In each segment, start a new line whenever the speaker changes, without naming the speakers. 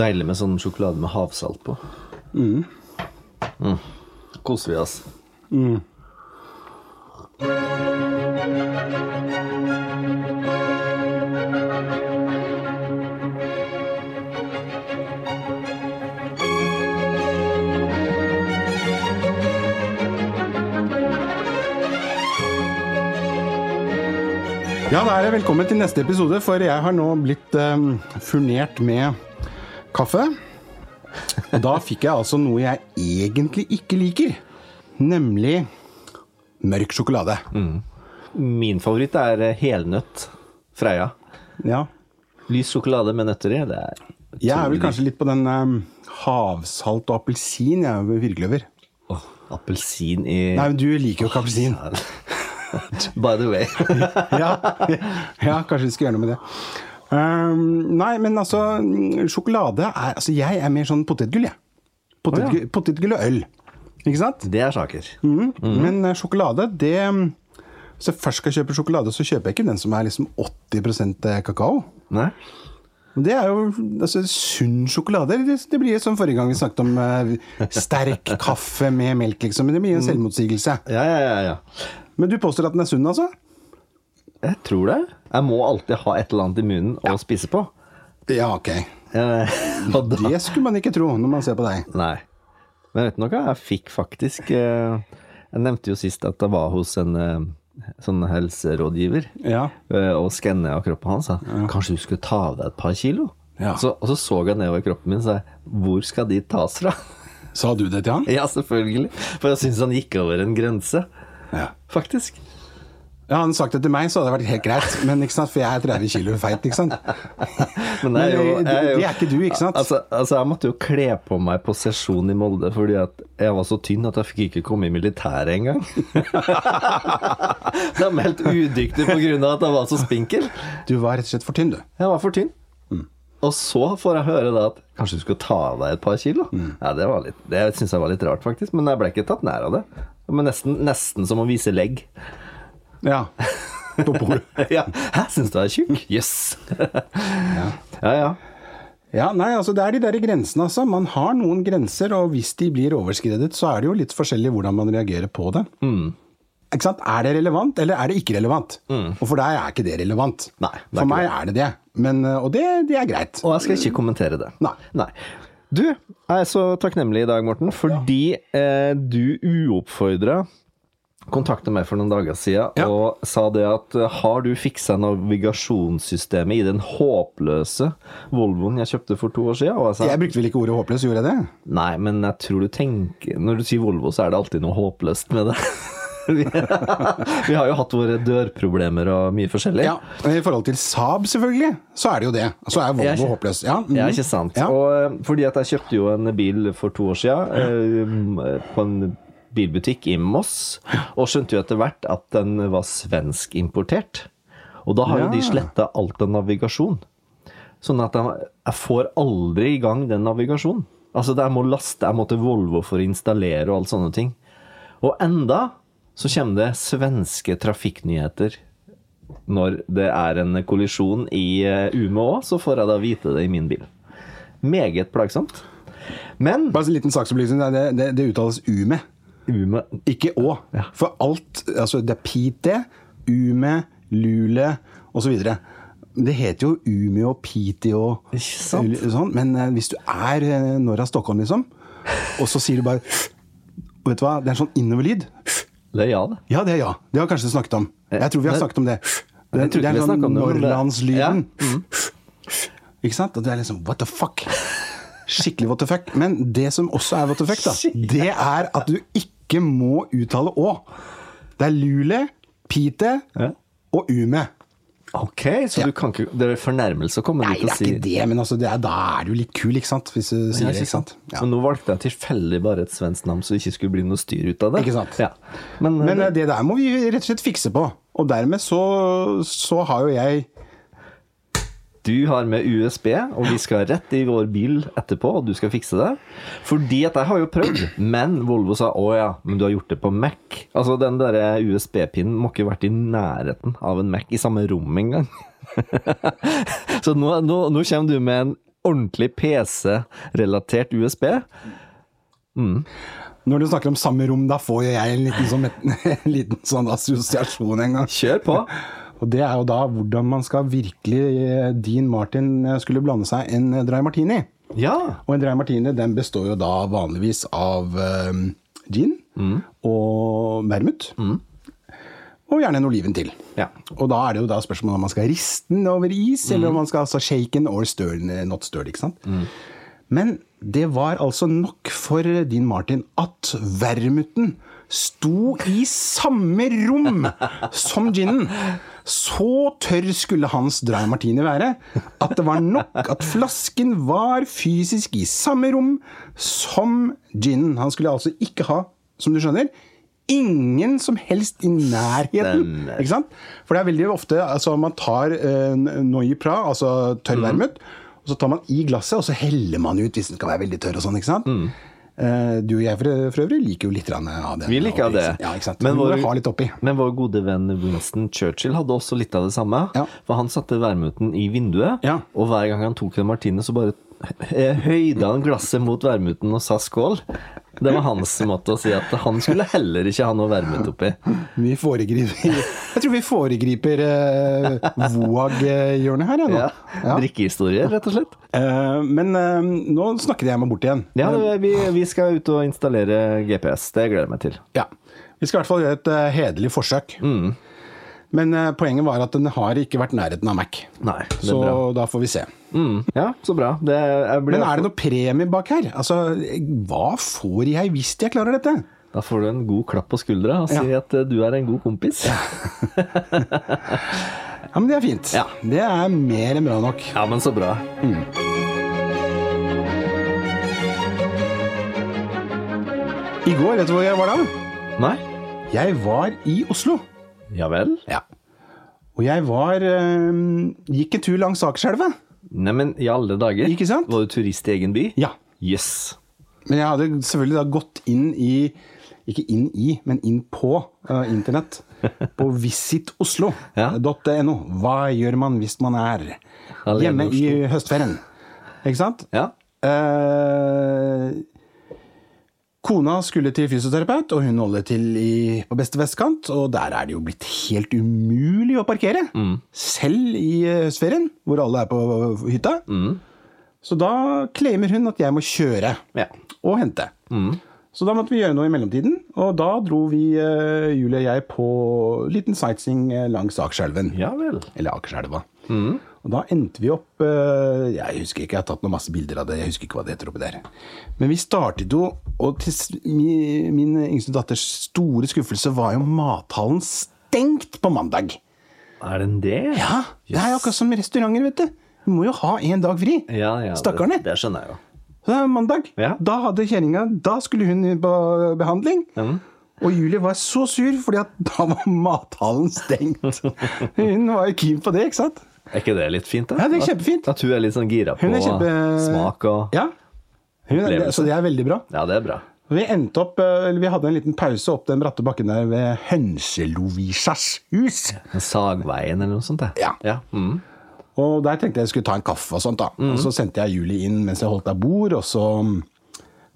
Deilig med sånn sjokolade med havsalt på. Mm. Koser vi oss.
Ja, da er det velkommen til neste episode, for jeg har nå blitt eh, furnert med kaffe. Og da fikk jeg altså noe jeg egentlig ikke liker, nemlig mørk sjokolade.
Min favoritt er eh, helnøtt. Freia.
Ja.
Lys sjokolade med nøtter i. Det er
Jeg er vel
utrolig-
kanskje litt på den eh, havsalt og appelsin jeg er virkelig over.
Åh, Appelsin i
Nei, men du liker jo ikke appelsin.
By the way.
ja. ja, kanskje vi skal gjøre noe med det. Ehm, nei, men altså Sjokolade er Altså, jeg er mer sånn potetgull, jeg. Potetgull, potetgull og øl. Ikke sant?
det er saker.
Mhm. Men eh, sjokolade, det mm, Hvis jeg først skal kjøpe sjokolade, så kjøper jeg ikke den som er liksom 80 kakao.
Nei?
Og Det er jo altså, sunn sjokolade. Det, det blir som forrige gang vi snakket om eh, sterk kaffe med melk, liksom. Men det blir jo en selvmotsigelse.
Ja, ja, ja, ja.
Men du påstår at den er sunn, altså?
Jeg tror det. Jeg må alltid ha et eller annet i munnen å spise på.
Ja, ok.
Eh, og da
Det skulle man ikke tro når man ser på deg.
Nei. Men vet du noe? Jeg fikk faktisk eh, Jeg nevnte jo sist at jeg var hos en eh, sånn helserådgiver
Ja.
eh, og skanna kroppen hans. sa, Kanskje du skulle ta av deg et par kilo?
Ja.
Så, og så så jeg nedover kroppen min og sa jeg, hvor skal de tas fra?
Sa du det til han?
ja, selvfølgelig. For jeg syns han gikk over en grense,
Ja.
faktisk.
Ja, hadde han sagt det til meg, så hadde det vært helt greit. Men ikke sant, For jeg er 30 kilo feit, ikke sant.
Men jeg er jo,
Men eh, det-
jeg jo,
det er ikke du, ikke sant?
Altså, altså, jeg måtte jo kle på meg på sesjon i Molde fordi at jeg var så tynn at jeg fikk ikke komme i militæret engang. De er meldt udyktig på grunn av at jeg var så spinkel.
Du var rett og slett for tynn, du.
Jeg var for tynn. Og så får jeg høre da at kanskje du skal ta av deg et par kilo. Ja, det var litt, det syns jeg var litt rart, faktisk. Men jeg ble ikke tatt nær av det. Men nesten, nesten som å vise legg.
Ja. På bordet.
ja. Hæ, syns du jeg er tjukk? Jøss. ja, ja.
Ja, nei, altså Det er de der grensene, altså. Man har noen grenser, og hvis de blir overskredet, så er det jo litt forskjellig hvordan man reagerer på det.
Mm.
Ikke sant? Er det relevant, eller er det ikke relevant? Og for deg er ikke det relevant.
Mm. Nei, det er ikke
for meg er det det. Men, og det, det er greit.
Og jeg skal ikke kommentere det.
Nei.
Du, jeg er så takknemlig i dag, Morten, fordi eh, du uoppfordra kontakta meg for noen dager siden
Ja.
og sa det at eh, har du fiksa navigasjonssystemet i den håpløse Volvoen jeg kjøpte for to år siden? Og jeg sa
Jeg brukte vel ikke ordet håpløs, gjorde jeg det?
nei, men jeg tror du tenker Når du sier Volvo, så er det alltid noe håpløst med det. vi, vi har jo hatt våre dørproblemer og mye forskjellig.
Ja, I forhold til Saab, selvfølgelig, så er det jo det. Så er
Jeg er
Volvo
ikke-
håpløs. Ja, mhm.
Ja, ikke sant.
Ja.
Og, eh, fordi at jeg kjøpte jo en bil for to år siden eh, på en bilbutikk i Moss, og skjønte jo etter hvert at den var svenskimportert. Og da har jo
Ja.
de sletta alt av navigasjon. Sånn at jeg, jeg får aldri i gang den navigasjonen. Altså, jeg må laste, jeg må til Volvo for å installere og alt sånne ting. Og enda så kommer det svenske trafikknyheter. Når det er en kollisjon i eh, Umeå, så får jeg da vite det i min bil. Meget plagsomt. Men
Bare en liten saksopplysning. Det, er- det, det uttales E. ume,
Ume
ikke å. For alt altså Det er pite, ume, lule osv. Det heter jo Ume og Piti E og
Ikke sant?
eller sånn, men eh, hvis du er eh, norr av Stockholm, liksom, og så sier du bare og Vet du hva, det er en sånn innoverlyd.
Eller ja, det.
Ja, det er ja. Det har vi kanskje snakket om. Jeg tror vi har
det-
snakket om det. Det,
Jeg tror
det
ikke
er
vi har
sånn
snakket om det, men det-
Norrlandslyden.
Ja, Mm.
Ikke sant? Og det er liksom what the fuck? Skikkelig what the fuck. Men det som også er what the fuck, da, det er at du ikke må uttale å. Det er lule, pite
Ja.
og ume.
Ok, så du kan ikke Det er fornærmelse å komme
Nei,
dit
det
og
er
si
ikke det, men altså, det er, da er du litt kul, ikke sant? Hvis du sier
Ja,
det, ikke sant? Ja.
Men nå valgte jeg tilfeldig bare et svensk navn, så det ikke skulle bli noe styr ut av det.
Ikke sant?
Ja. Men,
Men eh, det der må vi rett og slett fikse på. Og dermed så, så har jo jeg
du har med USB, og vi skal rett i vår bil etterpå, og du skal fikse det. Fordi at jeg har jo prøvd, men Volvo sa å ja, men du har gjort det på Mac. Altså den derre USB-pinnen må ikke vært i nærheten av en Mac i samme rom engang. Så nå, nå, nå kommer du med en ordentlig PC-relatert USB.
Når du snakker om samme rom, da får jo jeg en liten, sånn, en liten sånn assosiasjon en gang.
Kjør på!
Og det er jo da hvordan man skal virkelig eh, Dean Martin eh, skulle blande seg en eh, dry martini.
Ja!
Og en dry martini den består jo da vanligvis av eh, gin og vermut. Og gjerne en oliven til.
Ja.
Og da er det jo da spørsmålet om man skal riste den over is, eller om man skal altså shake den or stir den, not stir, ikke sant. Men det var altså nok for din Martin at vermuten sto i samme rom som ginen. Så tørr skulle hans dry martini være at det var nok at flasken var fysisk i samme rom som ginen. Han skulle altså ikke ha, som du skjønner, ingen som helst i nærheten.
Stemmer.
Ikke sant? For det er veldig ofte altså, man tar eh, noipra, altså tørr vermut,
Mm.
og så tar man i glasset, og så heller man ut hvis den skal være veldig tørr og sånn. ikke sant?
Mm.
Eh, du og jeg for, for øvrig liker jo litt grann av det.
Vi liker det.
Ja, ikke sant?
Men
Men må
vår-
vi ha litt oppi.
Men vår gode venn Winston Churchill hadde også litt av det samme.
Ja.
For han satte vermuten i vinduet,
Ja.
og hver gang han tok en martini, så bare eh, høyda han glasset mot vermuten og sa skål. Det var hans måte å si at han skulle heller ikke ha noe vermut oppi.
Vi foregriper Jeg tror vi foregriper eh, Voag-hjørnet her, jeg nå.
Ja.
Ja.
Drikkehistorie, rett og slett.
Eh, men eh, nå snakket jeg meg bort igjen.
Ja, det- vi, vi skal ut og installere GPS. Det gleder jeg meg til.
Ja. Vi skal i hvert fall gjøre et eh, hederlig forsøk.
Mm.
Men eh, poenget var at den har ikke vært nærheten av Mac.
Nei, det
Så
er bra.
da får vi se.
Mm. Ja, så bra. Det, jeg blir,
Men er det noe premie bak her? Altså, hva får jeg hvis jeg klarer dette?
Da får du en god klapp på skuldra og si at eh, du er en god kompis.
Ja, men det er fint.
Ja.
Det er mer enn bra nok.
Ja, men så bra.
I går, vet du hvor jeg var da?
Nei?
Jeg var i Oslo.
Ja vel?
Ja. Og jeg var eh, Gikk en tur langs Akerselva.
Neimen, i alle dager.
Ikke sant?
Var du turist i egen by?
Ja.
Jøss.
Men jeg hadde selvfølgelig da gått inn i Ikke inn i, men inn på eh, internett. På
Ja.
visitoslo.no. Hva gjør man hvis man er
Alene i
hjemme i
Oslo.
høstferien? Ikke sant?
Ja.
Eh, kona skulle til fysioterapeut, og hun holder til i, på beste vestkant. Og der er det jo blitt helt umulig å parkere.
Mm.
Selv i eh, høstferien, hvor alle er på eh, hytta.
Mm.
Så da claimer hun at jeg må kjøre
Ja.
og hente. Så da måtte vi gjøre noe i mellomtiden, og da dro vi, eh, Julie og jeg, på liten sightseeing eh, langs Akerselven.
Ja vel.
Eller Akerselva. Og da endte vi opp eh, Jeg husker ikke, jeg har tatt noen masse bilder av det. Jeg husker ikke hva det heter oppi der. Men vi startet jo, og til s- mi- min yngste datters store skuffelse var jo mathallen stengt på mandag.
Er den det?
Ja, Det er jo akkurat som restauranter, vet du. Du må jo ha én dag fri.
ja, ja det-
Stakkarene.
Det skjønner jeg jo.
Så det er Eh, mandag.
Ja.
Da hadde kjerringa Da skulle hun på behandling. Og Julie var så sur, fordi at da var mathallen stengt. Hun var jo keen på det, ikke sant?
Er ikke det litt fint, da?
Ja, det er
At-
kjempefint.
At hun er litt sånn gira på
Hun er kjempe...
smak og
Ja. Hun er,
opplevelse.
så det er veldig bra.
Ja, det er bra.
Vi endte opp, eh, eller vi hadde en liten pause opp den bratte bakken der ved Hønselovisas hus.
En Sagveien eller noe sånt, det.
Ja.
ja. Mm.
Og der tenkte jeg jeg skulle ta en kaffe og sånt. da. Og Så sendte jeg Julie inn mens jeg holdt av bord, og så mm,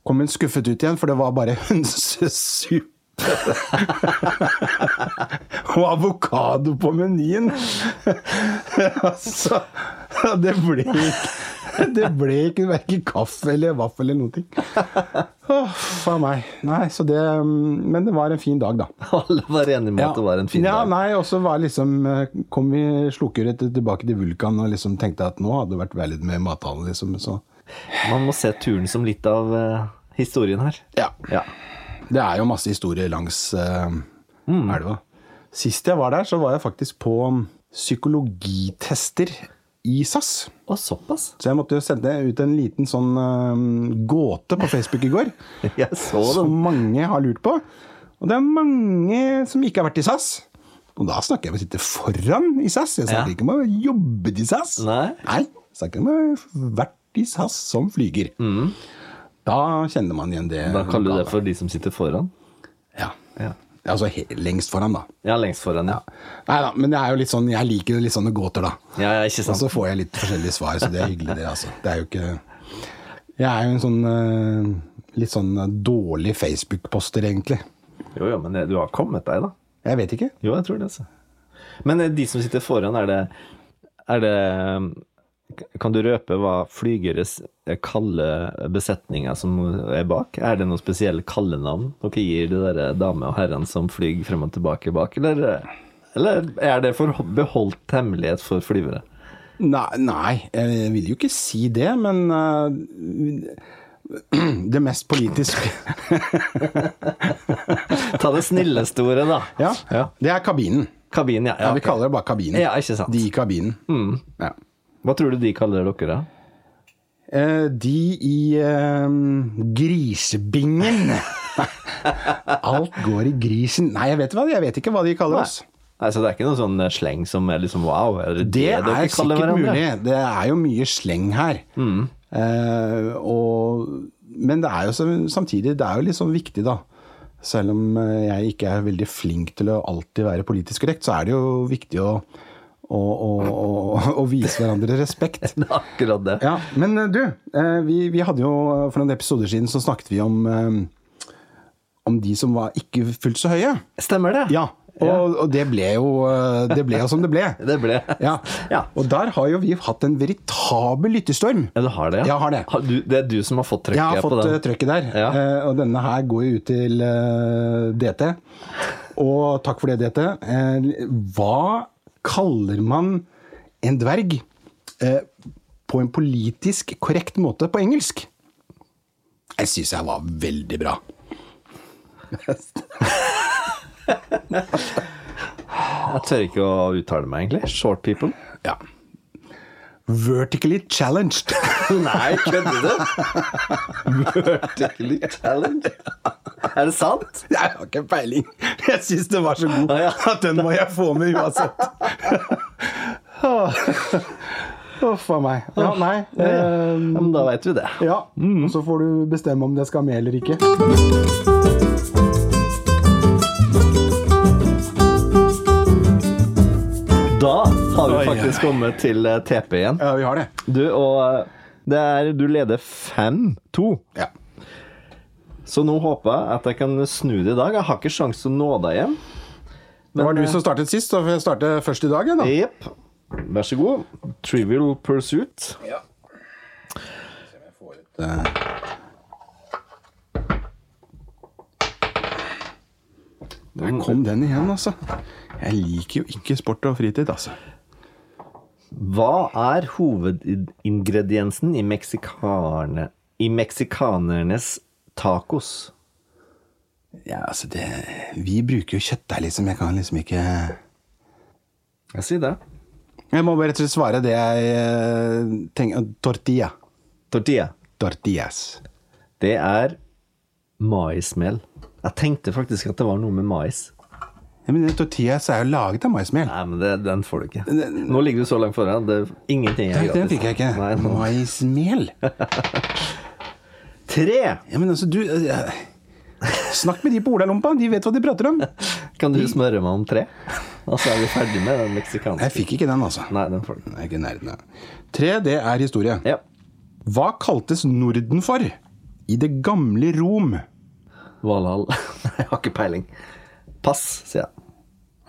kom hun skuffet ut igjen, for det var bare hønsesuppe. og avokado på menyen! altså, det ble ikke Det ble ikke verken kaffe eller vaffel eller noen ting. Åh, faen meg. Nei, så det mm, Men det var en fin dag, da.
Alle var enige om at det var en fin
ja,
dag.
Nei, og så var liksom eh, Kom vi slukøret tilbake til Vulkan og liksom tenkte at nå hadde det vært veldig med mathallen, liksom. Så
Man må se turen som litt av eh, historien her.
ja.
Ja.
Det er jo masse historier langs eh, elva. Sist jeg var der, så var jeg faktisk på mm, psykologitester i SAS.
Og såpass.
Så jeg måtte jo sende ut en liten sånn eh, gåte på Facebook i går,
Jeg så det.
som mange har lurt på. Og det er mange som ikke har vært i SAS. Og da snakker jeg om å sitte foran i SAS. Jeg
Ja.
snakker ikke om å ha jobbet i SAS.
Nei.
Jeg snakker om å ha vært i SAS som flyger.
Mm.
Da kjenner man igjen det.
Da kaller du det for de som sitter foran.
Ja.
Ja.
Altså he- lengst foran, da.
Ja, lengst foran, ja.
Nei da, men det er jo litt sånn, jeg liker jo litt sånne gåter, da.
Ja, ja ikke
Og
sant.
så får jeg litt forskjellige svar, så det er hyggelig, det, altså. Det er jo ikke Jeg er jo en sånn eh, litt sånn dårlig Facebook-poster, egentlig.
Jo, jo, men det, du har kommet deg, da.
Jeg vet ikke.
Jo, jeg tror det. Altså. Men eh, de som sitter foran, er det, er det um, Kan du røpe hva flygeres eh, kaller besetninger som er bak? Er det noen spesielle kallenavn dere gir de der damene og herrene som flyr frem og tilbake bak? Eller, eh, eller er det for beholdt hemmelighet for flyvere?
Nei, nei, jeg vil jo ikke si det, men eh, det mest politiske
Ta det snilleste ordet, da.
ja, det er kabinen.
Kabinen, ja.
Ja,
ja,
Vi
ok.
kaller det bare kabinen.
Ja, ikke sant. Mm.
De i kabinen. Ja.
Hva tror du de kaller dere, da?
Eh, de i eh, grisebingen. Alt går i grisen. Nei, jeg vet, hva, jeg vet ikke hva de kaller oss.
Nei, så det er ikke noe sånn sleng som er liksom wow? Er det,
Det
dere
er
kaller
sikkert
hverandre?
mulig. Mm. Det er jo mye sleng her. Eh, og, men det er jo så- samtidig det er jo litt sånn viktig, da. Selv om eh, jeg ikke er veldig flink til å alltid være politisk korrekt, så er det jo viktig å, å, å, å, å vise hverandre respekt.
Det er Akkurat det.
Ja, Men eh, du, eh, vi, vi hadde jo eh, for noen episoder siden så snakket vi om eh, om de som var ikke fullt så høye.
Stemmer det?
Ja, Og, og det ble jo eh, det ble jo som det ble.
Det ble
Ja.
Ja.
Og der har jo vi hatt en veritabel lyttestorm.
Ja, du har det, ja?
Jeg har det.
du, det er du som har fått
Jeg har
trøkket på
fått
den?
eh, trøkket der.
Ja.
Eh, Og denne her går jo ut til eh, DT. Og takk for det, DT. Eh, Hva kaller man en dverg eh, på en politisk korrekt måte på engelsk? Jeg syns jeg var veldig bra.
Jeg tør ikke å uttale meg, egentlig. Short people?
Ja. Vertically challenged.
Nei, kødder du? Vertically challenge? Er det sant?
Jeg har ikke peiling. Jeg syns det var så god
Ah, Ja, ja.
at den må jeg få med uansett. Huff a meg. Ja, nei.
Um,
eh,
Ja, Mm. men da vet vi det.
Ja, så får du bestemme om det skal med eller ikke.
Da har vi
Oi.
faktisk kommet til eh, TP igjen.
Ja, vi har det.
Du, og eh, det er, du leder 5-2.
Ja.
Så nå håper jeg at jeg kan snu det i dag. Jeg har ikke sjans til å nå deg hjem.
Det var du som startet sist, så får jeg starte først i dag. jeg, Da.
Jepp. Vær så god. Trivial pursuit.
Der kom den igjen, altså. Jeg liker jo ikke sport og fritid, altså.
Hva er hovedingrediensen i, meksikane, i meksikanernes tacos?
Ja, altså det, vi bruker jo kjøttdeig, liksom. Jeg kan liksom ikke
Jeg sier det.
Jeg må bare rett og slett svare det jeg eh, tenker. Tortilla.
Tortilla.
Tortillas.
Det er maismel. Jeg tenkte faktisk at det var noe med mais.
Ja, men Tortillas er jo laget av maismel.
Nei, men det, den får du ikke. Nå ligger du så langt foran. Det er ingenting
Nei,
er
den fikk jeg ikke.
Nei, nå.
Maismel?
Tre!
Ja, men altså, du eh, Snakk med de på Olalompa, de vet hva de prater om.
Kan du smøre meg om tre? Og så Altså, er vi ferdig med den
Jeg
meksikanske.
fikk ikke den, altså.
Nei, den får du ikke.
Nei, ikke nerden, ja. Tre, det er historie.
Ja.
Hva kaltes Norden for i det gamle Rom? Jeg
Valhall. Jeg har ikke peiling. Pass, sier jeg.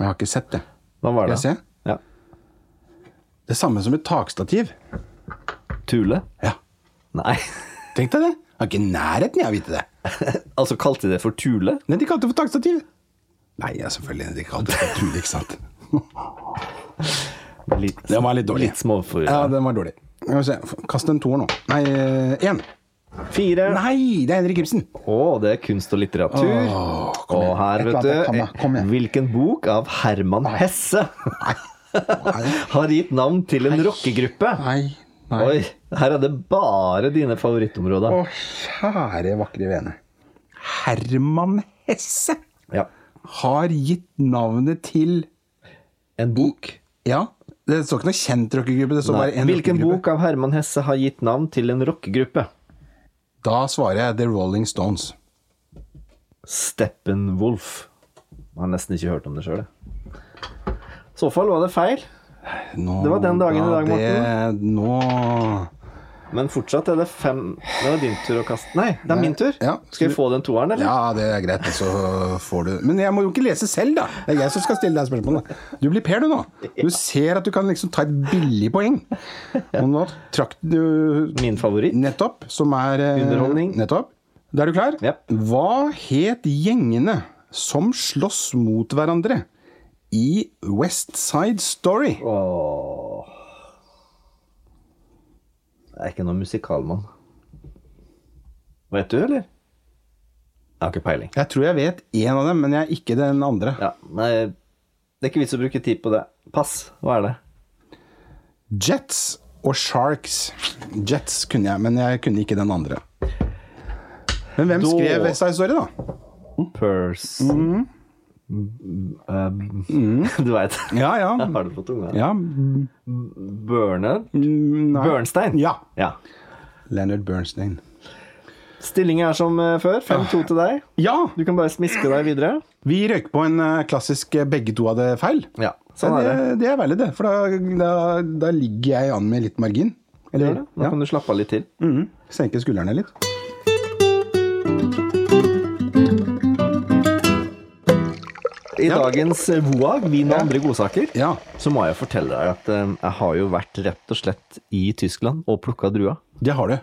har ikke sett det.
Hva var det?
Skal jeg se?
Ja.
Det samme som et takstativ.
Tule?
Ja,
Nei.
tenk deg det. Jeg har ikke nærheten jeg å vite det.
Altså, kalte de det for tule?
Nei, de kalte det for takstativ. Nei, ja, selvfølgelig. De kalte det for tule, ikke sant.
Litt,
Den var litt dårlig.
Litt småforvirret.
Ja, den var dårlig. Skal vi se. Kast en toer nå. Nei, én.
Fire.
Nei, det er Henrik Ibsen.
Å, det er kunst og litteratur.
kom
og
igjen.
her,
Et
vet
eller annet, kom igjen,
du,
kom igjen.
hvilken bok av Herman Hesse
Nei.
har gitt navn til en rockegruppe?
Nei. Nei.
Oi, her er det bare dine
Å,
favorittområder.
kjære vakre vene. Herman Hesse
Ja.
har gitt navnet til
En bok.
Ja, det står ikke noe kjent rockegruppe. Det står
Nei.
bare en
Hvilken
rockegruppe.
bok av Herman Hesse har gitt navn til en rockegruppe?
Da svarer jeg The Rolling Stones.
Steppenwolf. Jeg har nesten ikke hørt om det sjøl. I så fall var det feil,
Nå-
Det var den dagen i dag,
da, det- Nå
men fortsatt er det fem Det var din tur å kaste Nei, det er min tur.
Ja.
Skal vi få den toeren, eller?
Ja, det er greit, og så får du Men jeg må jo ikke lese selv, da! Det er jeg som skal stille deg spørsmålet. Du blir Per, du nå. Du ser at du kan liksom ta et billig poeng. Og nå trakk du
Min favoritt.
nettopp, som er eh,
Underholdning.
Nettopp. Da er du klar?
Jep.
Hva het gjengene som slåss mot hverandre i West Side Story?
Åh. Jeg er ikke noen musikalmann. Vet du, eller? Jeg har ikke peiling.
Jeg tror jeg vet én av dem, men jeg er ikke den andre.
Ja, nei, det er ikke vits å bruke tid på det. Pass. Hva er det?
Jets og Sharks. Jets kunne jeg, men jeg kunne ikke den andre. Men hvem
Da-
skrev West Side Story, da?
Purse Mm, eh, Du veit.
Ja, ja.
Jeg har det på tunga.
ja.
Bernard?
mm, Nei.
Bernstein?
ja.
Ja.
Leonard Bernstein.
Stillinga er som eh, før. 5-2 til deg.
Ja!
Du kan bare smiske deg videre.
Vi røyk på en eh, klassisk eh, begge to hadde feil.
Ja, sånn er
det,
det.
det er veldig det, for da, da, da ligger jeg an med litt margin.
Gjør det. Nå
Ja.
kan du slappe av litt til.
Mhm. Senke skuldrene litt.
I
Ja.
dagens eh, Voag, vin og andre godsaker,
Ja.
så må jeg fortelle deg at eh, jeg har jo vært rett og slett i Tyskland og plukka druer.
Det har du.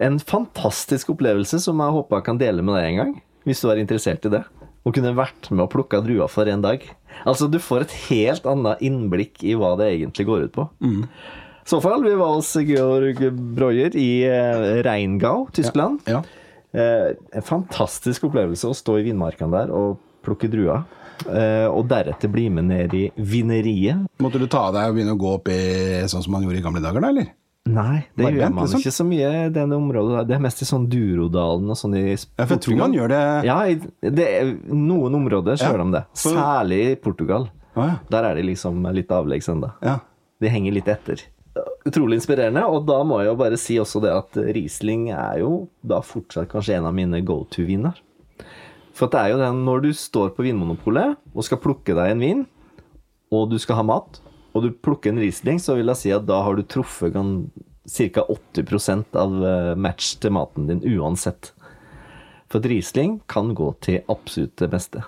En fantastisk opplevelse som jeg håper jeg kan dele med deg en gang, hvis du er interessert i det. Å kunne vært med og plukka druer for en dag. Altså, du får et helt annet innblikk i hva det egentlig går ut på.
Mm.
I så fall, vi var hos Georg Breuer i eh, Reingau, Tyskland.
Ja.
Eh, en fantastisk opplevelse å stå i vinmarkene der og plukke druer. Eh, og deretter bli med ned i vineriet.
Måtte du ta av deg og begynne å gå opp i sånn som man gjorde i gamle dager, da, eller?
Nei, det
Bare
gjør
vent,
man
liksom.
ikke sånn. så mye i denne området. der. Det er mest i sånn Durodalen og sånn i
Ja, for jeg tror man gjør det
Ja, i- det er noen områder så
Ja.
gjør de det.
For-
Særlig i Portugal.
Å, ja.
Der er de liksom litt avleggs enda.
ja.
De henger litt etter. Utrolig inspirerende. Og da må jeg jo bare si også det at Riesling er jo da fortsatt kanskje en av mine go to-viner. For at det er jo den når du står på Vinmonopolet og skal plukke deg en vin, og du skal ha mat, og du plukker en Riesling, så vil jeg si at da har du truffet ca. 80 av eh, match til maten din uansett. For at Riesling kan gå til absolutt det beste.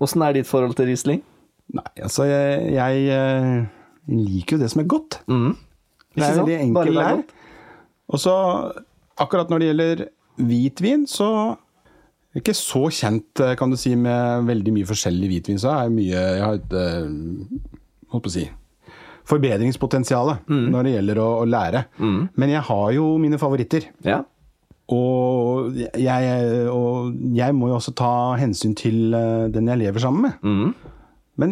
Åssen er ditt forhold til Riesling?
Nei, altså jeg, jeg eh, liker jo det som er godt. Det
Mm. Ikke
er
sant?
veldig
Bare
enkelt
det er
her.
godt.
Og så akkurat når det gjelder hvitvin, så er jeg ikke så kjent eh, kan du si, med veldig mye forskjellig hvitvin. Så er jeg mye Jeg har et eh, holdt på å si forbedringspotensialet
Mm.
når det gjelder å, å lære. Men jeg har jo mine favoritter.
Ja.
Og jeg, og jeg må jo også ta hensyn til eh, den jeg lever sammen med.
Mm.
Men,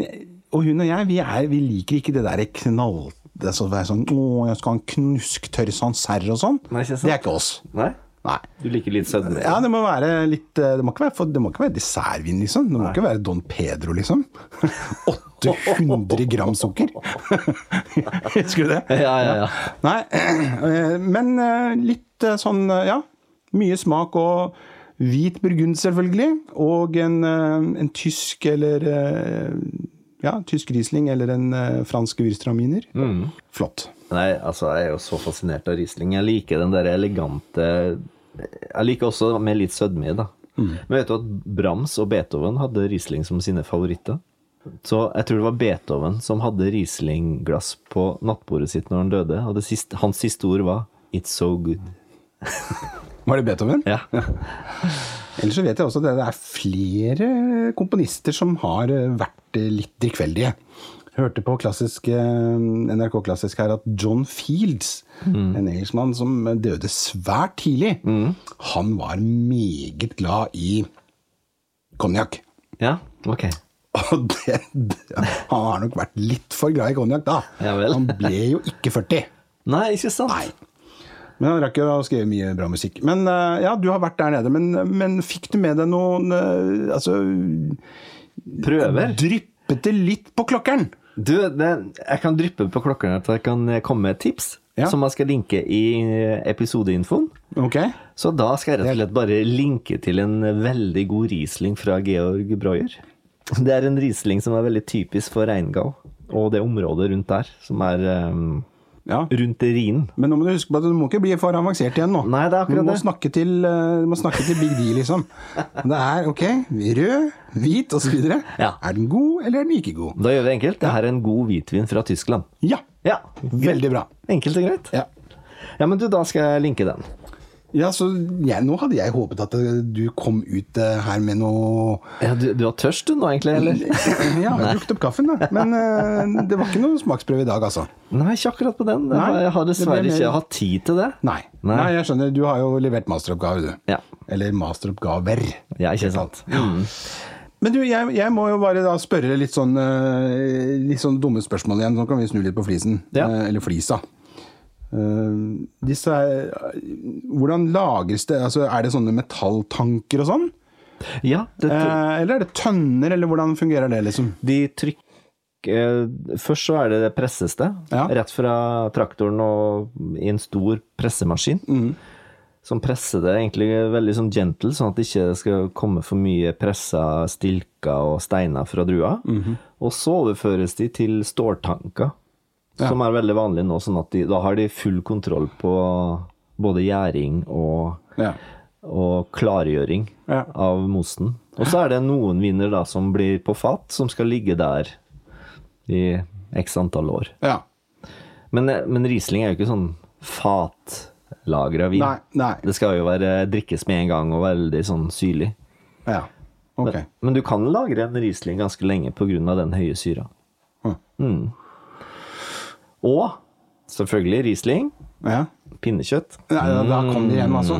og hun og jeg, vi, er, vi liker ikke det der knall... Det er så- det er sånn, å, jeg skal ha en knusktørr sanserre og sånn.
Nei, ikke sant?
Det er ikke oss.
Nei?
Nei.
Du liker litt sødme?
Ja, det må være litt eh, Det må ikke være, for, det må ikke være dessertvin, liksom. Det må ikke være Don Pedro, liksom. 800 gram sukker. Husker du det?
Ja, ja, ja.
Nei, eh, men eh, litt eh, sånn, eh, ja. Mye smak og hvit burgund, selvfølgelig. Og en, eh, en tysk eller eh, Ja, tysk Riesling eller en eh, fransk Würstraminer. Flott.
Nei, altså, jeg er jo så fascinert av Riesling. Jeg liker den der elegante Jeg liker også med litt sødme i, da. Men vet du at Brahms og Beethoven hadde Riesling som sine favoritter? Så jeg tror det var Beethoven som hadde Riesling-glass på nattbordet sitt når han døde, og det siste, hans siste ord var 'It's so good'.
Var det Beethoven?
Ja.
Ellers så vet jeg også at det er flere komponister som har eh, vært litt drikkfeldige. Jeg hørte på klassisk, eh, NRK Klassisk her at John Fields,
Mm.
en engelskmann som døde svært tidlig, han var meget glad i konjakk.
ja? Ok.
Og det, det, han har nok vært litt for glad i konjakk da.
Ja vel.
Han ble jo ikke 40.
Nei, ikke sant?
Nei. Men han rakk jo å skrive mye bra musikk. Men eh, ja, du har vært der nede. Men, men fikk du med deg noen eh, Altså
Prøver?
Dryppet det litt på klokkeren?
Du, det, jeg kan dryppe på klokken her til jeg kan komme med et tips
Ja.
som jeg skal linke i episodeinfoen.
Ok?
Så da skal jeg rett og slett bare linke til en veldig god Riesling fra Georg Breuer. Det er en Riesling som er veldig typisk for Reingau og det området rundt der, som er ehm,
Ja.
rundt Rhinen.
Men nå må du huske på at du må ikke bli for avansert igjen nå.
Nei, det er akkurat
du må
det.
Snakke til, eh, du må snakke til Big D, liksom. Det er ok, rød, hvit osv. videre
Ja.
Er den god, eller er den ikke god?
Da gjør vi det enkelt. Det her er en god hvitvin fra Tyskland.
Ja.
Ja,
Veldig bra.
enkelt og greit.
Ja.
Ja, men du, da skal jeg linke den.
Ja, så jeg, Nå hadde jeg håpet at eh, du kom ut eh, her med noe
Ja, du, du var tørst du nå, egentlig, eller?
Ja, jeg drukket opp kaffen, da. Men eh, det var ikke noen smaksprøve i dag, altså.
Nei, ikke akkurat på den. Jeg
Nei,
har- jeg har
det ble
dessverre
mer-
ikke hatt tid til det.
Nei.
Nei.
Nei. jeg skjønner. Du har jo levert masteroppgave, du.
Ja.
Eller masteroppgaver.
Ja, ikke sant.
Men du, jeg, jeg må jo bare da spørre litt sånn, eh, litt sånn dumme spørsmål igjen. Nå kan vi snu litt på flisen.
Ja.
Eh, eller flisa. Eh, disse er, hvordan lagres det? Altså, er det sånne metalltanker og sånn?
Ja, det,
Eh, eller er det tønner, eller hvordan fungerer det, liksom?
De trykker eh, Først så er det det presseste,
Ja.
rett fra traktoren og i en stor pressemaskin. Som presser det egentlig veldig sånn gentle, sånn at det ikke skal komme for mye pressa stilker og steiner fra drua. Og så overføres de til ståltanker, som er veldig vanlig nå. sånn at de, Da har de full kontroll på både gjæring og
Ja.
og klargjøring
Ja.
av mosen. Og så er det noen viner da som blir på fat, som skal ligge der i x antall år.
ja.
Men, eh, men Riesling er jo ikke sånn fatlagra vin.
Nei. nei.
Det skal jo være, drikkes med en gang og veldig sånn syrlig.
Ja. Ok.
Men, men du kan lagre en Riesling ganske lenge pga. den høye syra.
Hm.
Mm. Og selvfølgelig Riesling,
Ja.
pinnekjøtt,
Ja, ja, da kom det igjen, altså.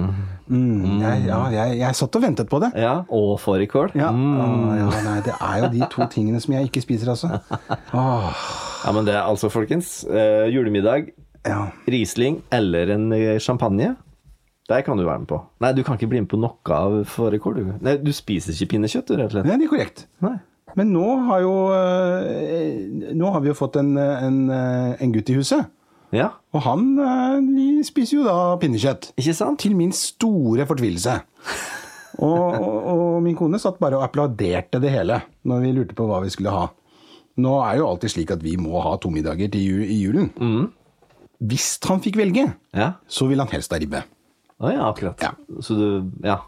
Mm, jeg, ja, jeg, jeg satt og ventet på det.
ja, og fårikål.
Ja. Å, ja, nei, det er jo de to tingene som jeg ikke spiser, altså. Åh,
Ja, men det er altså, folkens, eh, julemiddag,
ja.
Riesling eller en eh, champagne. Der kan du være med på. Nei, du kan ikke bli med på noe av fårikål. du. Nei, du spiser ikke pinnekjøtt, du, rett og slett.
Det er korrekt.
Nei.
Men nå har jo eh, Nå har vi jo fått en, en, eh, en gutt i huset.
Ja,
Og han eh, de spiser jo da pinnekjøtt.
ikke sant?
Til min store fortvilelse. Og, og, og min kone satt bare og applauderte det hele når vi lurte på hva vi skulle ha. Nå er jo alltid slik at vi må ha to middager til ju i julen. Hvis han fikk velge,
Ja.
så ville han helst ha ribbe.
Å ja, akkurat.
Ja.
Så du Ja.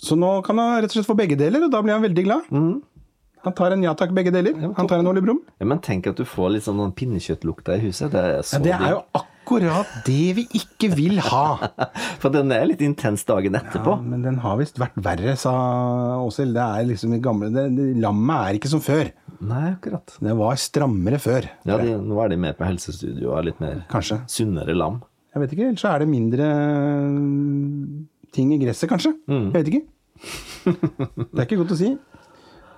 Så nå kan han rett og slett få begge deler, og da blir han veldig glad. Han tar en Mm. ja takk, begge deler. Han tar en Ole Brumm.
ja. Men tenk at du får litt sånn den pinnekjøttlukta i huset. Det er så
Ja, det er jo
digg.
akkurat det vi ikke vil ha.
For den er litt intens dagen etterpå.
Ja, men den har visst vært verre, sa Åshild. Det er liksom det gamle det, det, Lammet er ikke som før.
Nei, akkurat.
Det var strammere før.
Ja, de, nå er de mer på helsestudio og er litt mer
Kanskje.
sunnere lam.
Jeg vet ikke, ellers så er det mindre mm, ting i gresset, kanskje.
Mm.
Jeg vet ikke. Det er ikke godt å si.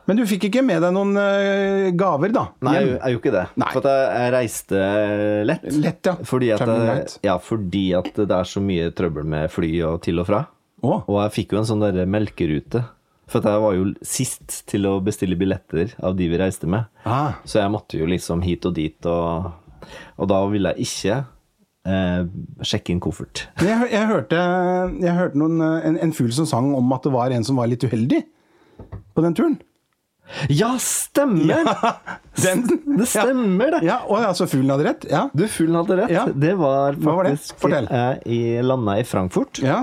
Men du fikk ikke med deg noen eh, gaver, da?
Nei, jeg
hjem?
jeg gjorde ikke det.
Nei.
For at jeg, jeg reiste eh, lett.
Lett, ja.
Fordi at,
Traveling
jeg,
light.
ja, fordi at det er så mye trøbbel med fly og til og fra.
Å,
Og jeg fikk jo en sånn derre melkerute. For at jeg var jo sist til å bestille billetter av de vi reiste med.
Ah.
Så jeg måtte jo liksom hit og dit, og, og da ville jeg ikke eh, sjekke inn koffert.
Men Jeg, hø- jeg hørte, jeg hørte noen, eh, en, en fugl som sang om at det var en som var litt uheldig på den turen.
Ja, stemmer! det stemmer, det!
Ja, og altså fuglen hadde rett? Ja.
Du, fuglen hadde rett.
Ja.
Det var
Hva var det?
faktisk
Fortell.
eh, i landa i Frankfurt.
ja.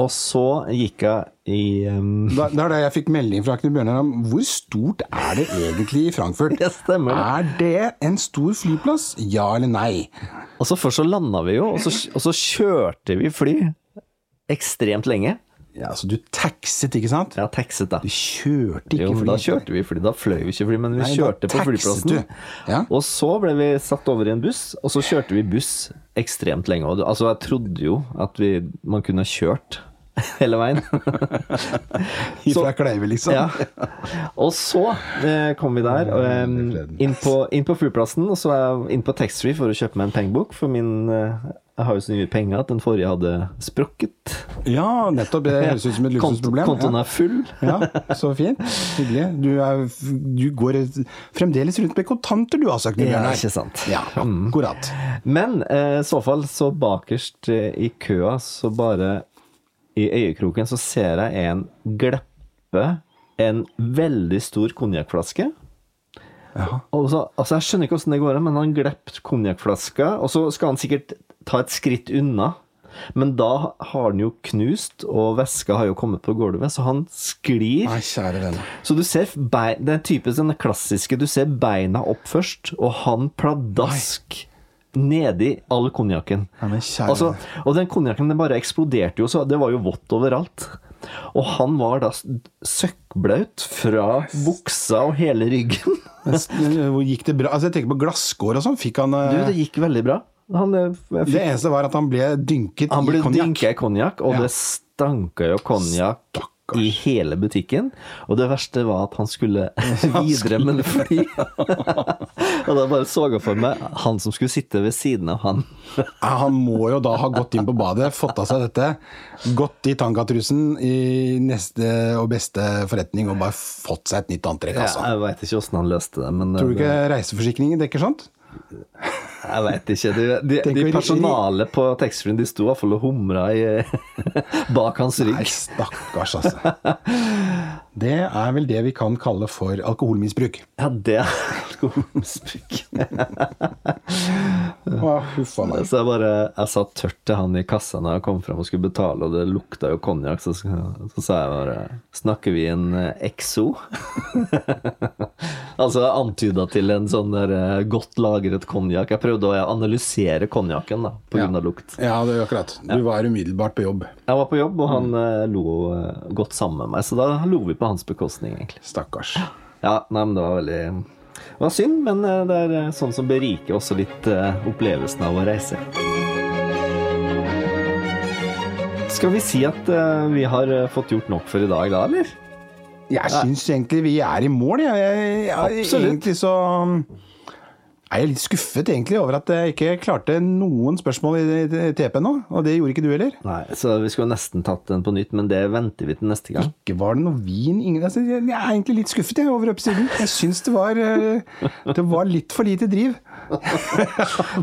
Og så gikk jeg i um,
Da, det er da jeg fikk melding fra Knut Bjørnar om hvor stort er det egentlig i Frankfurt?
Det stemmer.
Er det en stor flyplass? Ja eller nei?
Og så først så landa vi jo, og så, og så kjørte vi fly ekstremt lenge.
Ja, Så du taxet, ikke sant?
Ja, taxet, da.
Du kjørte ikke
Jo, men da
fly.
kjørte vi fly. Da fløy vi ikke fly, men vi
Nei, da
kjørte på
taxet
flyplassen.
du. Ja.
Og så ble vi satt over i en buss, og så kjørte vi buss ekstremt lenge. Og det- Altså, jeg trodde jo at vi, man kunne ha kjørt hele veien.
Ifra Kleive, liksom.
Ja. Og så eh, kom vi der, og, eh, inn, på, inn på flyplassen, og så var jeg inn på taxfree for å kjøpe meg en pengebok, for min eh, jeg har jo så mye penger at den forrige hadde sprukket.
Ja, nettopp. Det høres ut som et
Kont-
luksusproblem.
Kontoen er full.
Ja, så fint. Hyggelig. Du, er, du går fremdeles rundt med kontanter, du altså, Knut
Ja,
Bjørnar.
ikke sant.
Ja, akkurat.
Men eh, i så fall, så bakerst eh, i køa, så bare i øyekroken, så ser jeg en gleppe en veldig stor konjakkflaske. Og så, altså, jeg skjønner ikke åssen det går an, men han glepp konjakkflaska, og så skal han sikkert ta et skritt unna. Men da har den jo knust, og væska har jo kommet på gulvet, så han sklir.
Nei, kjære venn.
Så du ser bein, Det er typisk den klassiske Du ser beina opp først, og han pladask nedi all konjakken.
Nei, men kjære
Altså, og den konjakken den bare eksploderte jo, så det var jo vått overalt. Og han var da s- søkkblaut fra buksa og hele ryggen.
Men s- Hvor gikk det bra? Altså, jeg tenker på glasskår og sånn. Fikk han eh,
Du, det gikk veldig bra. Han, eh, f-
Det eneste var at han ble dynket
han ble
i konjakk.
dynka i konjakk, og
Ja.
det stanka jo konjakk
Stakkars.
i hele butikken. Og det verste var at han skulle videre med det fly. og da bare så jeg for meg han som skulle sitte ved siden av han.
Ja, Ah, Han må jo da ha gått inn på badet, fått av seg dette, gått i tangatrusen i neste og beste forretning og bare fått seg et nytt antrekk,
Ja,
altså.
jeg veit ikke åssen han løste det, men eh,
Tror du ikke reiseforsikringen dekker sånt?
jeg vet ikke. De, de,
Tenk
de
å-
personale på taxfree-en de sto i hvert fall og humra i- bak hans
Nei,
rygg.
stakkars, altså. Det er vel det vi kan kalle for alkoholmisbruk.
Ja, det er alkoholmisbruk.
Å, huffa meg.
Så jeg bare Jeg sa tørt til han i kassa når jeg kom fram og skulle betale, og det lukta jo konjakk, så, sk- så sa jeg bare Snakker vi en eh, XO? altså antyda til en sånn der eh, godt lagret konjakk. Jeg prøvde å analysere konjakken da, pga. av lukt.
Ja, det er akkurat. Du var umiddelbart på jobb.
Jeg var på jobb, og han eh, lo eh, godt sammen med meg, så da lo vi på hans bekostning, egentlig.
Stakkars.
Ja, nei, men det var veldig Det var synd, men eh, det er eh, sånn som beriker også litt eh, opplevelsen av å reise. Skal vi si at eh, vi har eh, fått gjort nok for i dag, da, eller?
Jeg syns egentlig vi er i mål, jeg. jeg, jeg
Absolutt.
Egentlig så mm, er jeg litt skuffet egentlig over at jeg ikke klarte noen spørsmål i TP nå. Og det gjorde ikke du heller.
Nei, så vi skulle nesten tatt den på nytt, men det venter vi til neste gang.
Ikke var det noe vin ingen, altså, Jeg jeg er egentlig litt skuffet jeg, over episoden. Jeg syns det var eh, Det var litt for lite driv.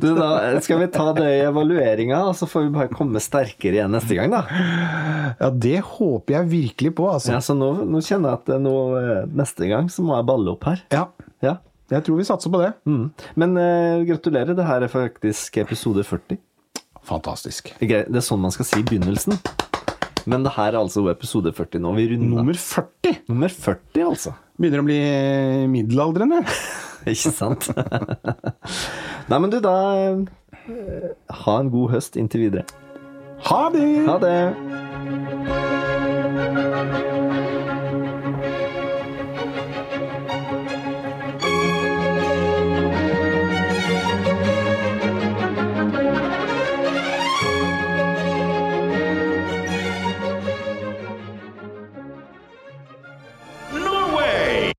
Du, da eh, skal vi ta det i evalueringa, og så får vi bare komme sterkere igjen neste gang, da.
Ja, det håper jeg virkelig på, altså.
Ja, så nå, nå kjenner jeg at eh, nå, eh, neste gang så må jeg balle opp her.
Ja.
Ja.
Jeg tror vi satser på det.
Mm. Men eh, gratulerer, det her er faktisk episode 40.
Fantastisk.
Det er greit, det er sånn man skal si i begynnelsen. Men det her er altså episode 40 nå. Vi runder
Nummer 40!
nummer 40, altså.
Begynner å bli middelaldrende.
Ikke sant? Nei, men du, da eh, Ha en god høst inntil videre.
Ha det!
Ha det!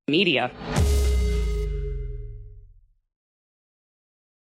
media.